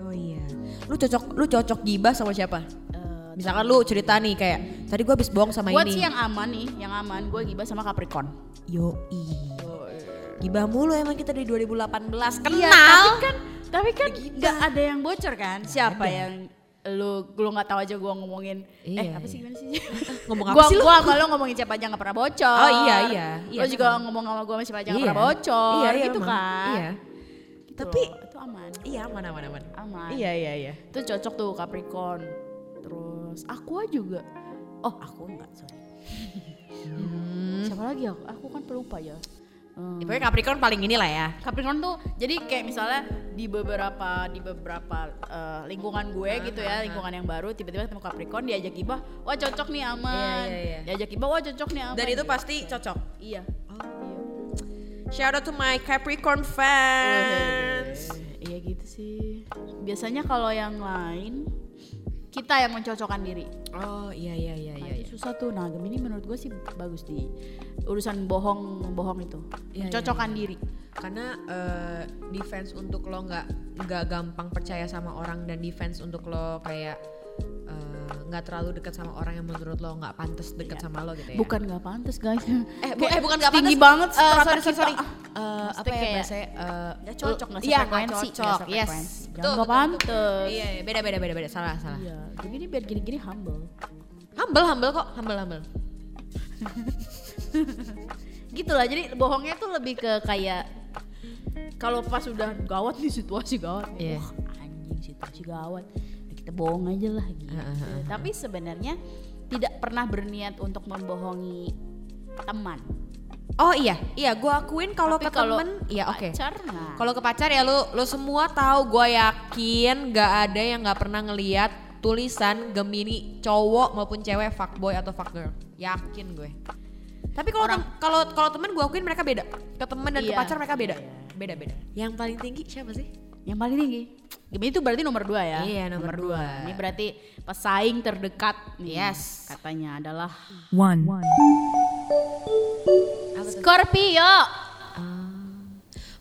[SPEAKER 2] Oh iya. Lu cocok lu cocok gibah sama siapa?
[SPEAKER 1] Eh,
[SPEAKER 2] Misalkan lu cerita nih kayak tadi gua habis bohong sama
[SPEAKER 1] buat
[SPEAKER 2] ini.
[SPEAKER 1] sih yang aman nih, yang aman gue gibah sama Capricorn.
[SPEAKER 2] Yoi. Gibah mulu emang kita dari 2018 kenal.
[SPEAKER 1] Iya, tapi kan tapi kan nggak ada yang bocor kan? Siapa yang lu lu nggak tahu aja gue ngomongin eh
[SPEAKER 2] Iya,
[SPEAKER 1] apa sih
[SPEAKER 2] iya.
[SPEAKER 1] gimana sih
[SPEAKER 2] Ngomong apa
[SPEAKER 1] gua,
[SPEAKER 2] sih lu?
[SPEAKER 1] gua sama lu ngomongin siapa aja nggak pernah bocor
[SPEAKER 2] Oh, iya, iya. Iya,
[SPEAKER 1] lo juga
[SPEAKER 2] memang.
[SPEAKER 1] ngomong sama gua sama siapa aja nggak
[SPEAKER 2] Iya.
[SPEAKER 1] pernah bocor
[SPEAKER 2] Iya, iya,
[SPEAKER 1] gitu
[SPEAKER 2] emang.
[SPEAKER 1] kan
[SPEAKER 2] Iya.
[SPEAKER 1] Gitu
[SPEAKER 2] Tapi
[SPEAKER 1] loh, itu aman
[SPEAKER 2] iya aman aman aman.
[SPEAKER 1] aman
[SPEAKER 2] Iya iya iya.
[SPEAKER 1] itu cocok tuh Capricorn terus aku juga oh aku enggak sorry siapa lagi aku aku kan pelupa ya Hmm,
[SPEAKER 2] Ya, Hmm. Pokoknya Capricorn paling inilah ya.
[SPEAKER 1] Capricorn tuh jadi kayak misalnya di beberapa di beberapa eh, lingkungan gue gitu ya lingkungan yang baru tiba-tiba ketemu Capricorn diajak gibah wah cocok nih aman
[SPEAKER 2] Iya, iya, iya.
[SPEAKER 1] diajak gibah wah cocok nih aman
[SPEAKER 2] Dan itu pasti cocok.
[SPEAKER 1] iya
[SPEAKER 2] Shout out to my Capricorn
[SPEAKER 1] Uhuh.
[SPEAKER 2] fans.
[SPEAKER 1] iya gitu sih biasanya kalau yang lain kita yang mencocokkan diri
[SPEAKER 2] Oh iya iya iya
[SPEAKER 1] Nah,
[SPEAKER 2] iya.
[SPEAKER 1] itu susah tuh. Nah, Gemini menurut gue sih bagus di urusan bohong bohong itu.
[SPEAKER 2] Iya,
[SPEAKER 1] Mencocokkan diri.
[SPEAKER 2] karena eh, defense untuk lo nggak nggak gampang percaya sama orang dan defense untuk lo kayak eh, nggak terlalu dekat sama orang yang menurut lo nggak pantas dekat sama lo gitu ya
[SPEAKER 1] Bukan nggak pantas, guys.
[SPEAKER 2] eh, bu- eh, bukan nggak pantas
[SPEAKER 1] Tinggi banget
[SPEAKER 2] Eh,
[SPEAKER 1] strata
[SPEAKER 2] sorry sorry,
[SPEAKER 1] kita.
[SPEAKER 2] sorry.
[SPEAKER 1] Ah,
[SPEAKER 2] Eh, apa
[SPEAKER 1] maksudnya
[SPEAKER 2] ya
[SPEAKER 1] kayak
[SPEAKER 2] bahasanya eh,
[SPEAKER 1] nggak cocok, nggak
[SPEAKER 2] iya,
[SPEAKER 1] sefrekuensi,
[SPEAKER 2] cocok
[SPEAKER 1] nggak
[SPEAKER 2] yes
[SPEAKER 1] sefrekuensi. Jangan
[SPEAKER 2] Betul,
[SPEAKER 1] nggak
[SPEAKER 2] betul, betul.
[SPEAKER 1] pantas.
[SPEAKER 2] iya iya, beda beda beda beda salah salah
[SPEAKER 1] Iya, Gemini biar gini-gini humble.
[SPEAKER 2] humble humble kok humble humble
[SPEAKER 1] Gitu lah. Jadi bohongnya tuh lebih ke kayak kalau pas udah gawat nih situasi gawat. nih,
[SPEAKER 2] Iya.
[SPEAKER 1] Wah, anjing kita juga awal kita bohong aja lah gitu tapi sebenarnya tidak pernah berniat untuk membohongi teman
[SPEAKER 2] Oh iya, iya gue akuin kalau
[SPEAKER 1] Tapi
[SPEAKER 2] ke
[SPEAKER 1] kalau
[SPEAKER 2] temen, iya oke.
[SPEAKER 1] pacar nah.
[SPEAKER 2] Kalau ke pacar ya lu lu semua tahu gue yakin gak ada yang gak pernah ngeliat tulisan Gemini cowok maupun cewek fuckboy atau fuckgirl. Yakin gue. Tapi kalau
[SPEAKER 1] Orang-
[SPEAKER 2] tem- kalau kalau temen gue akuin mereka beda. Ke temen dan ke
[SPEAKER 1] Iya,
[SPEAKER 2] pacar mereka beda.
[SPEAKER 1] iya, iya.
[SPEAKER 2] Beda-beda. Yang paling tinggi siapa sih?
[SPEAKER 1] yang paling tinggi Gemini itu berarti nomor dua ya
[SPEAKER 2] Iya, nomor dua.
[SPEAKER 1] ini berarti pesaing terdekat nih,
[SPEAKER 2] Yes.
[SPEAKER 1] katanya adalah
[SPEAKER 3] One.
[SPEAKER 1] Scorpio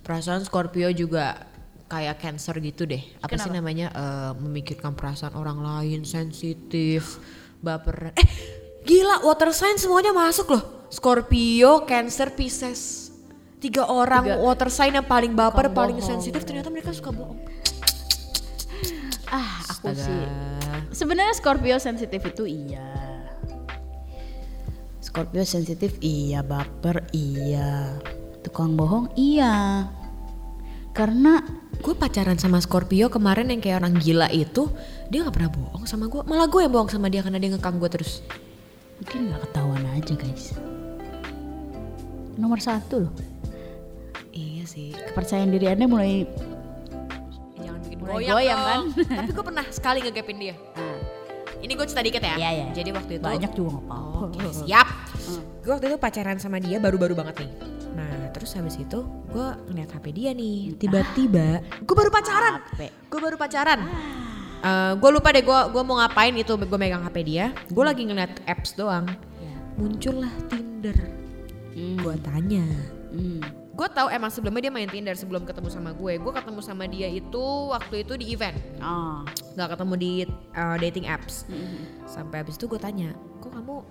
[SPEAKER 2] Perasaan Scorpio juga kayak cancer gitu deh. Apa sih
[SPEAKER 1] Kenapa?
[SPEAKER 2] namanya? Eh, memikirkan perasaan orang lain, sensitif, baperan. Eh, gila water sign semuanya masuk loh. Scorpio, Cancer, Pisces. Tiga orang
[SPEAKER 1] Tiga.
[SPEAKER 2] water sign yang paling baper,
[SPEAKER 1] Suka
[SPEAKER 2] paling
[SPEAKER 1] bohong.
[SPEAKER 2] sensitif ternyata mereka suka bohong.
[SPEAKER 1] ah aku
[SPEAKER 2] Astaga.
[SPEAKER 1] sih sebenarnya Scorpio sensitif itu iya Scorpio sensitif iya baper iya tukang bohong iya karena
[SPEAKER 2] Gue pacaran sama Scorpio kemarin yang kayak orang gila itu, dia nggak pernah bohong sama gue. Malah gue yang bohong sama dia karena dia ngekang gue terus.
[SPEAKER 1] mungkin nggak ketahuan aja guys nomor satu loh
[SPEAKER 2] Iya sih.
[SPEAKER 1] kepercayaan diri anda mulai
[SPEAKER 2] Jangan bikin
[SPEAKER 1] Mulai
[SPEAKER 2] goyang,
[SPEAKER 1] goyang,
[SPEAKER 2] dong.
[SPEAKER 1] kan?
[SPEAKER 2] Tapi gue pernah sekali ngegapin dia.
[SPEAKER 1] Nah,
[SPEAKER 2] Ini gue cerita dikit ya.
[SPEAKER 1] Iya, iya.
[SPEAKER 2] Jadi waktu itu Oh,
[SPEAKER 1] banyak juga nggak apa-apa
[SPEAKER 2] Oke, siap. Gue waktu itu pacaran sama dia baru-baru banget nih. Nah, terus habis itu gue ngeliat HP dia nih. Tiba-tiba gue baru pacaran.
[SPEAKER 1] HP.
[SPEAKER 2] Gue baru pacaran. gue lupa deh gue gua mau ngapain itu gue megang HP dia. Gue lagi ngeliat apps doang.
[SPEAKER 1] Iya.
[SPEAKER 2] Muncullah Tinder.
[SPEAKER 1] Hmm,
[SPEAKER 2] Gue tanya,
[SPEAKER 1] hmm.
[SPEAKER 2] gue tahu emang sebelumnya dia main Tinder sebelum ketemu sama gue gue ketemu sama dia itu waktu itu di event
[SPEAKER 1] Ah,
[SPEAKER 2] nggak ketemu di uh, dating apps
[SPEAKER 1] Hmm,
[SPEAKER 2] sampai habis itu gue tanya kok kamu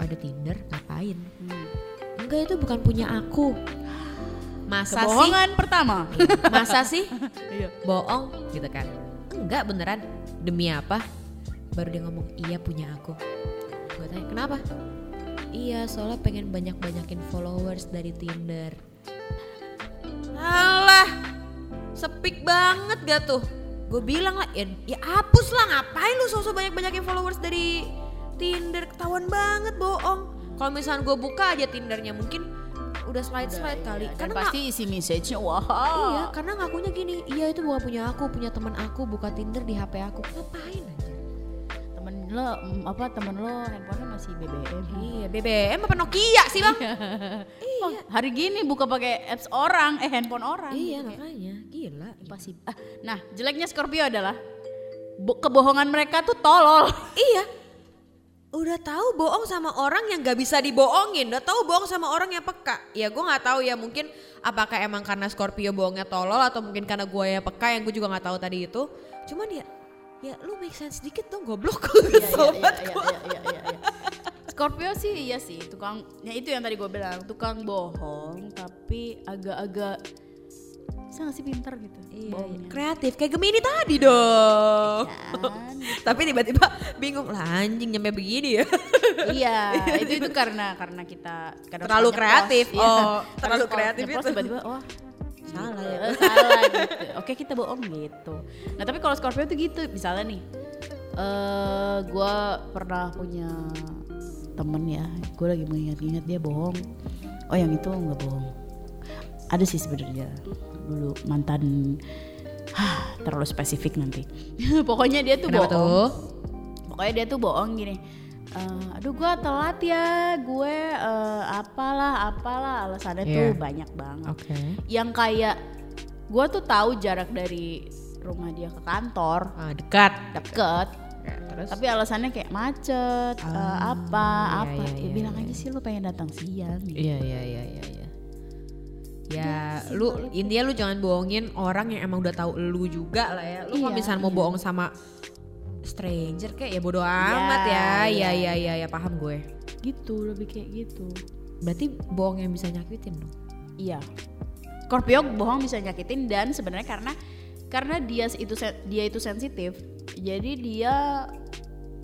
[SPEAKER 2] ada Tinder ngapain
[SPEAKER 1] hmm.
[SPEAKER 2] enggak itu bukan punya aku masa
[SPEAKER 1] kebohongan pertama
[SPEAKER 2] sih masa sih
[SPEAKER 1] Iya.
[SPEAKER 2] bohong gitu kan enggak beneran demi apa baru dia ngomong iya punya aku gue tanya kenapa iya soalnya pengen banyak banyakin followers dari Tinder alah sepik banget gak tuh gue bilang lah ya, ya hapus lah ngapain lu sosok banyak banyakin followers dari Tinder ketahuan banget bohong kalau misalnya gue buka aja Tindernya mungkin udah slide slide kali
[SPEAKER 1] kan
[SPEAKER 2] karena nggak-
[SPEAKER 1] pasti isi message-nya wah
[SPEAKER 2] Iya,
[SPEAKER 1] Oh.
[SPEAKER 2] karena ngakunya gini, iya itu bukan punya aku, punya teman aku, buka Tinder di HP aku. Ngapain aja?
[SPEAKER 1] temen lo mm, apa temen lo handphonenya masih BBM
[SPEAKER 2] Iya, BBM apa Nokia sih, Bang?
[SPEAKER 1] Iya. Oh, hari gini buka pakai apps orang eh handphone orang
[SPEAKER 2] iya, makanya. Gila.
[SPEAKER 1] pasti ah, nah jeleknya Scorpio adalah bo- kebohongan mereka tuh tolol
[SPEAKER 2] Iya. Udah tahu bohong sama orang yang gak bisa dibohongin, udah tahu bohong sama orang yang peka. Ya gue nggak tahu ya mungkin apakah emang karena Scorpio bohongnya tolol atau mungkin karena gue yang peka yang gue juga nggak tahu tadi itu. Cuman ya ya lu make sense dikit dong goblok sobat
[SPEAKER 1] iya,
[SPEAKER 2] gue.
[SPEAKER 1] iya, iya, iya, iya. Scorpio sih iya sih tukang ya itu yang tadi gue bilang tukang bohong tapi agak-agak bisa nggak sih pinter gitu
[SPEAKER 2] Iya,
[SPEAKER 1] bohongnya
[SPEAKER 2] Kreatif kayak Gemini tadi dong.
[SPEAKER 1] Kan?
[SPEAKER 2] Tapi tiba-tiba bingung lah anjing nyampe begini ya.
[SPEAKER 1] iya itu itu karena karena kita kadang
[SPEAKER 2] Terlalu
[SPEAKER 1] suka
[SPEAKER 2] kreatif.
[SPEAKER 1] nyeplos,
[SPEAKER 2] Oh,
[SPEAKER 1] iya.
[SPEAKER 2] terlalu
[SPEAKER 1] Kadang suka
[SPEAKER 2] kreatif
[SPEAKER 1] nyeplos,
[SPEAKER 2] itu.
[SPEAKER 1] tiba-tiba oh
[SPEAKER 2] Salah
[SPEAKER 1] gitu,
[SPEAKER 2] ya.
[SPEAKER 1] eh, salah gitu oke kita bohong gitu nah tapi kalau Scorpio tuh gitu misalnya nih eh gue pernah punya temen ya gue lagi mengingat-ingat dia bohong oh yang itu nggak bohong ada sih sebenarnya dulu mantan Hah, terlalu spesifik nanti pokoknya dia tuh
[SPEAKER 2] Kenapa
[SPEAKER 1] bohong
[SPEAKER 2] tuh?
[SPEAKER 1] pokoknya dia tuh bohong gini "Eh, aduh gue telat ya gue eh, apalah apalah alasannya tuh
[SPEAKER 2] Iya.
[SPEAKER 1] banyak banget
[SPEAKER 2] Oke.
[SPEAKER 1] yang kayak gue tuh tahu jarak dari rumah dia ke kantor
[SPEAKER 2] Ah, dekat.
[SPEAKER 1] deket
[SPEAKER 2] Nah, terus
[SPEAKER 1] tapi alasannya kayak macet eh, apa
[SPEAKER 2] iya,
[SPEAKER 1] apa
[SPEAKER 2] iya,
[SPEAKER 1] ya,
[SPEAKER 2] iya,
[SPEAKER 1] bilang aja sih lu pengen datang siang gitu.
[SPEAKER 2] Iya iya iya iya iya. Ya, lu intinya lu jangan bohongin orang yang emang udah tahu lu juga lah ya. Lu kalau
[SPEAKER 1] Iya,
[SPEAKER 2] misalnya mau
[SPEAKER 1] iya.
[SPEAKER 2] bohong sama stranger kayak ya bodo amat ya. Iya
[SPEAKER 1] iya.
[SPEAKER 2] iya iya ya, paham gue.
[SPEAKER 1] gitu lebih kayak gitu
[SPEAKER 2] Berarti bohong yang bisa nyakitin dong.
[SPEAKER 1] iya Scorpio bohong bisa nyakitin dan sebenarnya karena karena dia itu sen- dia itu sensitif jadi dia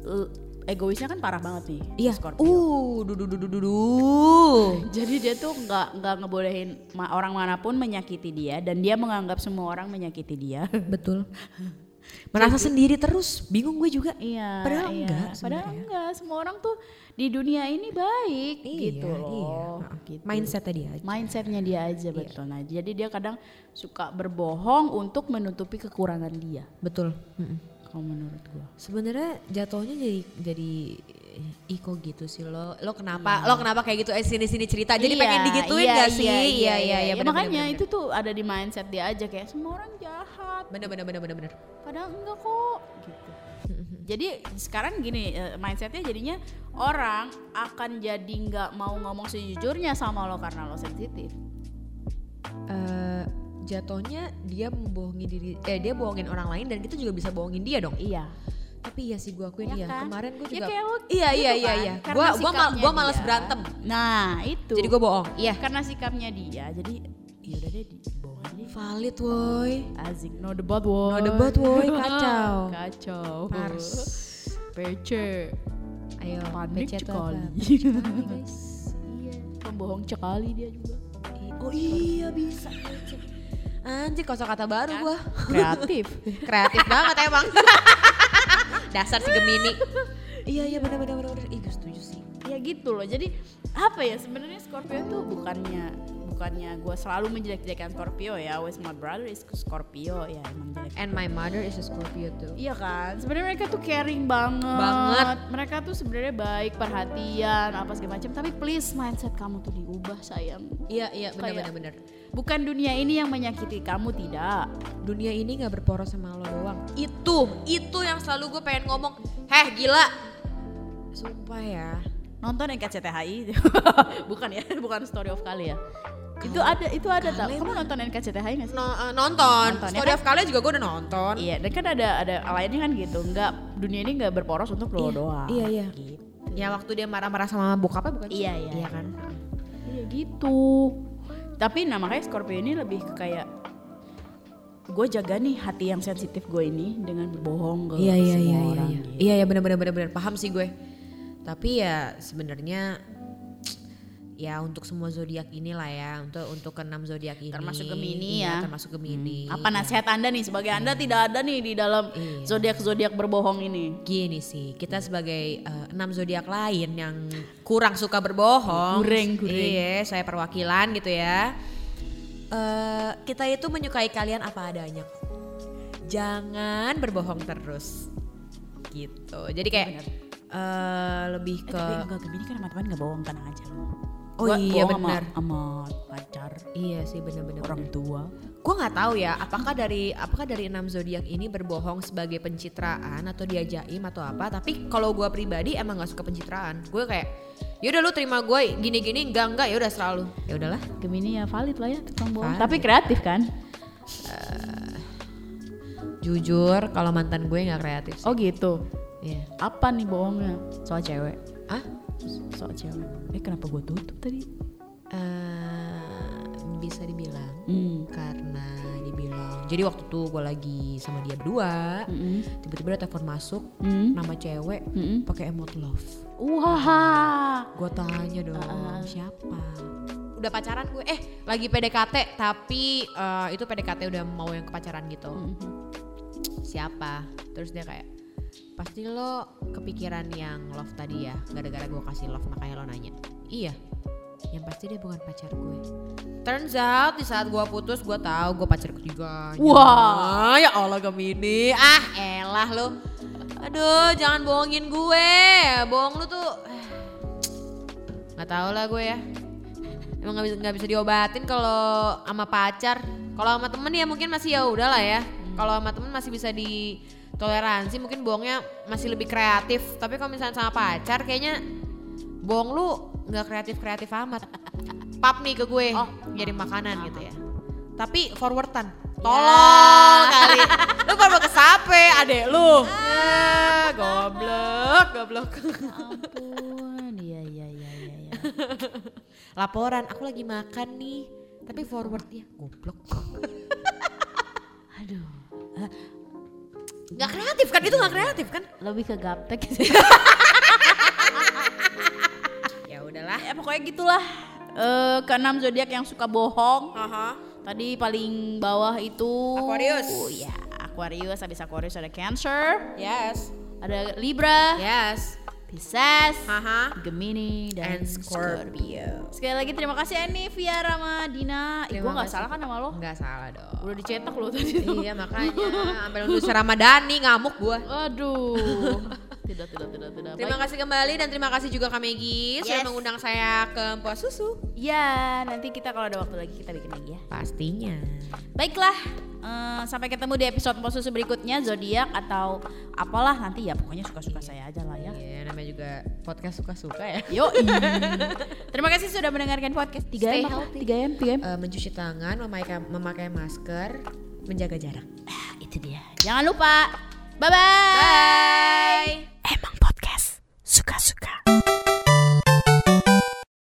[SPEAKER 1] eh, egoisnya kan parah banget nih
[SPEAKER 2] Iya.
[SPEAKER 1] Scorpio
[SPEAKER 2] Uh, du du du du du. du.
[SPEAKER 1] jadi dia tuh nggak nggak ngebolehin ma- orang manapun menyakiti dia dan dia menganggap semua orang menyakiti dia
[SPEAKER 2] Betul. gitu. merasa sendiri terus bingung gue juga
[SPEAKER 1] Iya.
[SPEAKER 2] Padahal
[SPEAKER 1] iya.
[SPEAKER 2] enggak
[SPEAKER 1] Padahal
[SPEAKER 2] sebenarnya.
[SPEAKER 1] enggak. Semua orang tuh di dunia ini baik
[SPEAKER 2] Iya,
[SPEAKER 1] gitu loh.
[SPEAKER 2] iya.
[SPEAKER 1] Gitu.
[SPEAKER 2] mindset tadi aja
[SPEAKER 1] Mindsetnya dia aja betul. Nah, jadi dia kadang suka berbohong untuk menutupi kekurangan dia.
[SPEAKER 2] betul Mm-mm.
[SPEAKER 1] Kalau menurut gua.
[SPEAKER 2] sebenarnya jatuhnya jadi jadi eh, iko gitu sih lo lo kenapa lo kenapa kayak gitu eh sini sini cerita jadi
[SPEAKER 1] Hmm. Iya,
[SPEAKER 2] pengen digituin
[SPEAKER 1] iya,
[SPEAKER 2] gak sih
[SPEAKER 1] Iya, iya, iya. Ya,
[SPEAKER 2] bener,
[SPEAKER 1] makanya
[SPEAKER 2] bener,
[SPEAKER 1] itu tuh ada di mindset dia aja kayak semua orang jahat.
[SPEAKER 2] bener bener bener bener bener
[SPEAKER 1] Padahal enggak kok gitu. Jadi sekarang gini eh, mindsetnya jadinya orang akan jadi nggak mau ngomong sejujurnya sama lo karena lo sensitif.
[SPEAKER 2] Eh, jatuhnya dia membohongi diri eh dia bohongin orang lain dan kita juga bisa bohongin dia dong
[SPEAKER 1] Iya.
[SPEAKER 2] tapi iya sih gue akuin
[SPEAKER 1] Iya
[SPEAKER 2] iya
[SPEAKER 1] kan?
[SPEAKER 2] kemarin gue
[SPEAKER 1] Ya
[SPEAKER 2] juga
[SPEAKER 1] kayak lo
[SPEAKER 2] iya
[SPEAKER 1] gitu
[SPEAKER 2] iya iya
[SPEAKER 1] kan,
[SPEAKER 2] iya
[SPEAKER 1] karena
[SPEAKER 2] gue gua mal-
[SPEAKER 1] sikapnya
[SPEAKER 2] gua malas
[SPEAKER 1] dia.
[SPEAKER 2] berantem
[SPEAKER 1] Nah itu.
[SPEAKER 2] jadi gue bohong iya
[SPEAKER 1] karena sikapnya dia jadi ya udah deh dibohongin deh.
[SPEAKER 2] valid woi
[SPEAKER 1] Asik, no debat woy
[SPEAKER 2] No debat, woy. Kacau.
[SPEAKER 1] Kacau
[SPEAKER 2] Pars.
[SPEAKER 1] PC
[SPEAKER 2] ayo
[SPEAKER 1] Panik
[SPEAKER 2] PC tuh
[SPEAKER 1] sekali.
[SPEAKER 2] apa? PC sekali, guys iya
[SPEAKER 1] Pembohong sekali dia juga
[SPEAKER 2] oh iya bisa anjir kosong kata baru gue
[SPEAKER 1] Kreatif
[SPEAKER 2] kreatif banget emang dasar si Gemini iya iya benar benar benar benar. ih gue setuju sih
[SPEAKER 1] Ya gitu loh, jadi apa ya sebenarnya Scorpio tuh bukannya Bukannya gue selalu menjelek-jelekan Scorpio ya Always my brother is Scorpio Ya emang jelek
[SPEAKER 2] and my mother is a Scorpio too
[SPEAKER 1] Iya kan, sebenarnya mereka tuh caring banget.
[SPEAKER 2] Banget.
[SPEAKER 1] Mereka tuh sebenarnya baik, perhatian, apa segala macam. Tapi please mindset kamu tuh diubah sayang.
[SPEAKER 2] iya iya benar
[SPEAKER 1] Kayak-
[SPEAKER 2] benar benar
[SPEAKER 1] Bukan dunia ini yang menyakiti kamu tidak.
[SPEAKER 2] dunia ini nggak berporos sama lo doang itu itu yang selalu gue pengen ngomong heh gila sumpah ya
[SPEAKER 1] Nonton NKCTHI, bukan ya, bukan Story of Kali ya. itu ada, itu ada tau. Kamu nonton NKCTHI nggak sih?
[SPEAKER 2] No- eh, nonton,
[SPEAKER 1] Nonton, ya
[SPEAKER 2] story of Kale juga gue udah nonton
[SPEAKER 1] Iya, dan kan ada ada lainnya kan gitu. Enggak, dunia ini nggak berporos untuk lo
[SPEAKER 2] Iya,
[SPEAKER 1] doang.
[SPEAKER 2] iya, iya.
[SPEAKER 1] Gitu.
[SPEAKER 2] ya waktu dia marah-marah sama bokapnya bukan sih?
[SPEAKER 1] Iya, iya.
[SPEAKER 2] iya kan
[SPEAKER 1] Iya gitu. Tapi nah makanya Scorpio ini lebih ke kayak gue jaga nih hati yang sensitif gue ini dengan berbohong ke
[SPEAKER 2] Iya
[SPEAKER 1] semua
[SPEAKER 2] iya iya iya
[SPEAKER 1] orang.
[SPEAKER 2] iya.
[SPEAKER 1] gitu.
[SPEAKER 2] Iya iya benar benar benar benar paham sih gue. Tapi ya sebenarnya ya untuk semua zodiak inilah ya untuk untuk keenam zodiak ini.
[SPEAKER 1] Termasuk Gemini
[SPEAKER 2] Iya,
[SPEAKER 1] ya.
[SPEAKER 2] Termasuk Gemini.
[SPEAKER 1] Apa nasihat anda nih sebagai anda tidak ada nih di dalam
[SPEAKER 2] Iya.
[SPEAKER 1] zodiak zodiak berbohong ini?
[SPEAKER 2] Gini sih, kita
[SPEAKER 1] Iya.
[SPEAKER 2] sebagai eh, enam zodiak lain yang kurang suka berbohong.
[SPEAKER 1] Goreng, goreng.
[SPEAKER 2] Iya, saya perwakilan gitu ya. Eh, kita itu menyukai kalian apa adanya. Jangan berbohong terus. Gitu. Jadi kayak
[SPEAKER 1] Bener.
[SPEAKER 2] eh, lebih
[SPEAKER 1] Eh,
[SPEAKER 2] ke
[SPEAKER 1] tapi enggak Gemini kan sama teman nggak bohong tenang aja lo.
[SPEAKER 2] Oh
[SPEAKER 1] Gua
[SPEAKER 2] iya,
[SPEAKER 1] bohong sama-
[SPEAKER 2] benar.
[SPEAKER 1] Sama pacar,
[SPEAKER 2] Iya sih benar-benar.
[SPEAKER 1] orang tua.
[SPEAKER 2] Gue nggak tahu ya, apakah dari apakah dari enam zodiak ini berbohong sebagai pencitraan atau dia jaim atau apa? Tapi kalau gue pribadi emang nggak suka pencitraan. Gue kayak, yaudah lu terima gue gini-gini, enggak enggak, yaudah selalu. Ya udahlah.
[SPEAKER 1] Gemini ya valid lah ya tukang bohong.
[SPEAKER 2] Valid.
[SPEAKER 1] Tapi kreatif kan?
[SPEAKER 2] Jujur, kalau mantan gue nggak kreatif.
[SPEAKER 1] Oh gitu.
[SPEAKER 2] Iya.
[SPEAKER 1] Apa nih bohongnya? Soal cewek.
[SPEAKER 2] Ah?
[SPEAKER 1] Soal cewek. Eh kenapa gue tutup tadi?
[SPEAKER 2] Eh, bisa dibilang
[SPEAKER 1] Hmm.
[SPEAKER 2] karena dibilang. Jadi waktu itu gue lagi sama dia berdua,
[SPEAKER 1] Mm-mm.
[SPEAKER 2] tiba-tiba ada telepon masuk,
[SPEAKER 1] Hmm.
[SPEAKER 2] nama cewek,
[SPEAKER 1] Mm-mm.
[SPEAKER 2] pakai emot love.
[SPEAKER 1] Wah,
[SPEAKER 2] Gue tanya dong siapa? Udah pacaran gue, eh lagi PDKT tapi eh, itu PDKT udah mau yang ke pacaran gitu. Siapa? Terus dia kayak pasti lo kepikiran yang love tadi ya gara-gara gue kasih love makanya lo nanya. Iya. Yang pasti dia bukan pacar gue. Turns out di saat gue putus gue tahu gue pacar ketiga.
[SPEAKER 1] Wah.
[SPEAKER 2] ya Allah Gemini. Ah, elah lo. Aduh, jangan bohongin gue. Bohong lu tuh nggak tahu lah gue ya emang nggak bisa nggak bisa diobatin kalau sama pacar kalau sama temen ya mungkin masih ya udahlah ya kalau sama temen masih bisa ditoleransi mungkin bohongnya masih lebih kreatif tapi kalau misalnya sama pacar kayaknya bohong lu nggak kreatif kreatif amat pap nih ke gue
[SPEAKER 1] Oh.
[SPEAKER 2] jadi makanan gitu ya tapi forwardan tolong kali lu baru ke sape adek lu ah, goblok goblok
[SPEAKER 1] Ya ampun. Iya, iya, iya, iya, iya.
[SPEAKER 2] laporan aku lagi makan nih tapi forwardnya goblok
[SPEAKER 1] Aduh,
[SPEAKER 2] nggak kreatif kan itu nggak kreatif kan
[SPEAKER 1] lebih ke gaptek sih.
[SPEAKER 2] ya udahlah
[SPEAKER 1] ya pokoknya gitulah. Eh, keenam zodiak yang suka bohong. Tadi paling bawah itu
[SPEAKER 2] Aquarius.
[SPEAKER 1] Oh, ya, Aquarius, habis Aquarius ada Cancer,
[SPEAKER 2] Yes.
[SPEAKER 1] ada Libra,
[SPEAKER 2] Yes.
[SPEAKER 1] Pisces,
[SPEAKER 2] Haha.
[SPEAKER 1] Gemini dan
[SPEAKER 2] And Scorpio.
[SPEAKER 1] Sekali lagi terima kasih Ani, Via Ramadina. Ih,
[SPEAKER 2] Terima
[SPEAKER 1] gua nggak
[SPEAKER 2] kasih.
[SPEAKER 1] salah kan sama lo?
[SPEAKER 2] Enggak salah dong.
[SPEAKER 1] Udah dicetak lo tadi. tuh.
[SPEAKER 2] iya makanya ambil untuk Ramadhani ngamuk gua.
[SPEAKER 1] Aduh. tidak, tidak, tidak, tidak.
[SPEAKER 2] Terima
[SPEAKER 1] Baik.
[SPEAKER 2] kasih kembali dan terima kasih juga Kak Megi sudah
[SPEAKER 1] Yes.
[SPEAKER 2] mengundang saya ke Empos Susu.
[SPEAKER 1] Ya, nanti kita kalau ada waktu lagi kita bikin lagi ya.
[SPEAKER 2] Pastinya.
[SPEAKER 1] Baiklah, eh, sampai ketemu di episode posus berikutnya zodiak atau apalah nanti ya pokoknya suka-suka saya aja lah ya.
[SPEAKER 2] Iya, namanya juga podcast suka-suka ya.
[SPEAKER 1] Yo. Terima kasih sudah mendengarkan podcast 3M
[SPEAKER 2] Stay
[SPEAKER 1] apa?
[SPEAKER 2] healthy.
[SPEAKER 1] 3M, 3M.
[SPEAKER 2] Eh, mencuci tangan, memakai, memakai masker, menjaga jarak.
[SPEAKER 1] Ah, itu dia. Jangan lupa. Bye-bye.
[SPEAKER 2] Bye.
[SPEAKER 1] Emang podcast suka-suka.